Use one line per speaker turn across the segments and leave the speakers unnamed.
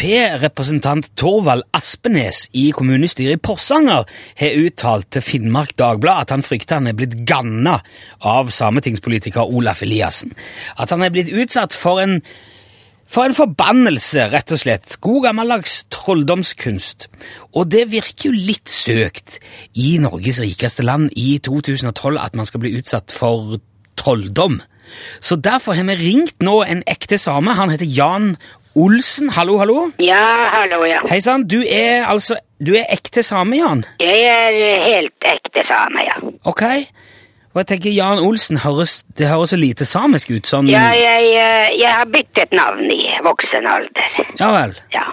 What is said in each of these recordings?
Frp-representant Torvald Aspenes i kommunestyret i Porsanger har uttalt til Finnmark Dagblad at han frykter han er blitt ganna av sametingspolitiker Olaf Eliassen. At han er blitt utsatt for en, for en forbannelse, rett og slett. God gammeldags trolldomskunst. Og det virker jo litt søkt i Norges rikeste land i 2012 at man skal bli utsatt for trolldom. Så derfor har vi ringt nå en ekte same. Han heter Jan Olsen. Hallo, hallo.
Ja, hallo, ja.
Hei sann, du er altså Du er ekte same, Jan.
Jeg er helt ekte same, ja.
Ok? Og jeg tenker Jan Olsen høres, det høres så lite samisk ut sånn
Ja, jeg, eh, jeg har byttet navn i voksen alder.
Ja vel.
Ja.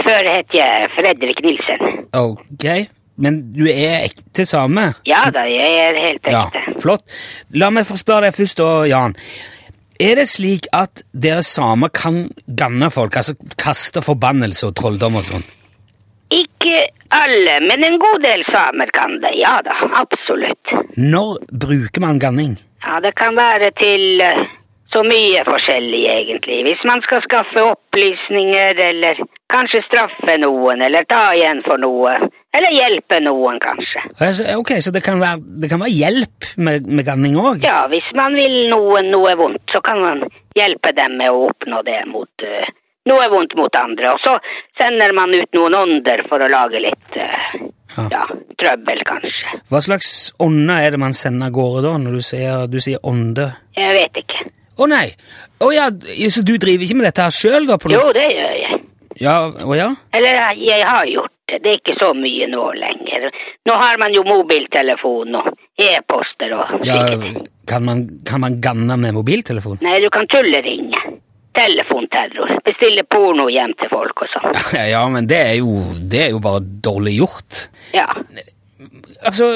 Før het jeg Fredrik Nilsen.
Ok. Men du er ekte same?
Ja da, jeg er helt ekte.
Flott. La meg få spørre deg først, da, Jan. Er det slik at dere samer kan ganne folk? Altså kaste forbannelse og trolldom og sånn?
Ikke alle, men en god del samer kan det. Ja da, absolutt.
Når bruker man ganning?
Ja, det kan være til eh, så mye forskjellig, egentlig. Hvis man skal skaffe opplysninger, eller kanskje straffe noen, eller ta igjen for noe. Eller hjelpe noen, kanskje.
Altså, Ok, Så det kan være, det kan være hjelp med, med ganning òg?
Ja, hvis man vil noen noe vondt, så kan man hjelpe dem med å oppnå det mot eh, Noe vondt mot andre. Og så sender man ut noen ånder for å lage litt eh,
Ja.
ja, trøbbel, kanskje.
Hva slags ånde er det man sender av gårde da, når du sier, du sier ånde?
Jeg vet ikke.
Å nei! Å ja, så du driver ikke med dette her sjøl, da? På
Jo, det gjør jeg.
Ja, å ja?
Eller eh, jeg har gjort det. Det er ikke så mye nå lenger. Nå har man jo mobiltelefon og e-poster og
ja
slike ting.
kan, man, kan man ganne med mobiltelefon?
Nei, du kan tulleringe. Telefonterror. Bestille porno hjem til folk og sånn.
Ja, men det er jo, det er jo bare dårlig gjort.
Ja.
Altså,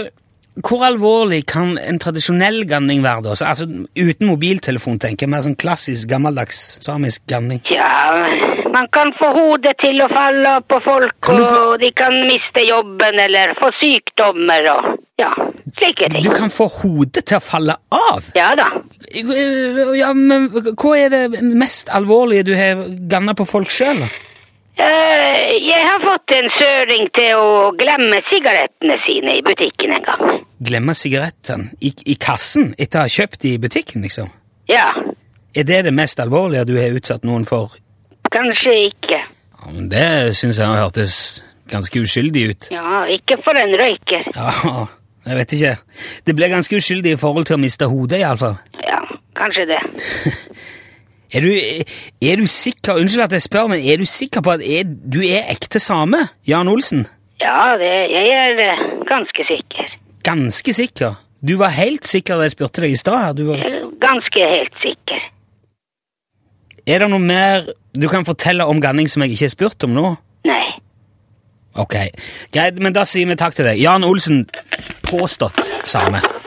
hvor alvorlig kan en tradisjonell ganning være, da? Så, Altså, uten mobiltelefon, tenker jeg. Mer sånn klassisk, gammeldags samisk ganning.
Ja, man kan få hodet til å falle på folk,
Kan du få-
og de kan miste jobben eller få sykdommer og ja, slike ting.
Du kan få hodet til å falle av!
Ja da.
Ja, men hva er det mest alvorlige du har ganna på folk sjøl?
Eh, Jeg har fått en søring til å glemme sigarettene sine i butikken en gang.
Glemme sigaretten i, i kassen etter å ha kjøpt de i butikken, liksom?
Ja,
Er det det mest alvorlige du har utsatt noen for?
kanskje ikke.
Ja, men Det syns jeg hørtes ganske uskyldig ut.
Ja, ikke for en røyker.
Ja, jeg vet ikke. Det ble ganske uskyldig i forhold til å miste hodet, iallfall.
Ja, kanskje det.
Er du, er du sikker Unnskyld at jeg spør, men er du sikker på at er, du er ekte same, Jan Olsen?
Ja, det, jeg er eh, ganske sikker.
Ganske sikker? Du var helt sikker da jeg spurte deg i stad. her. Du var...
Eh, Ganske helt sikker.
Er det noe mer du kan fortelle om ganning som jeg ikke har spurt om nå?
Nei.
Ok, greit, men da sier vi takk til deg. Jan Olsen, påstått same.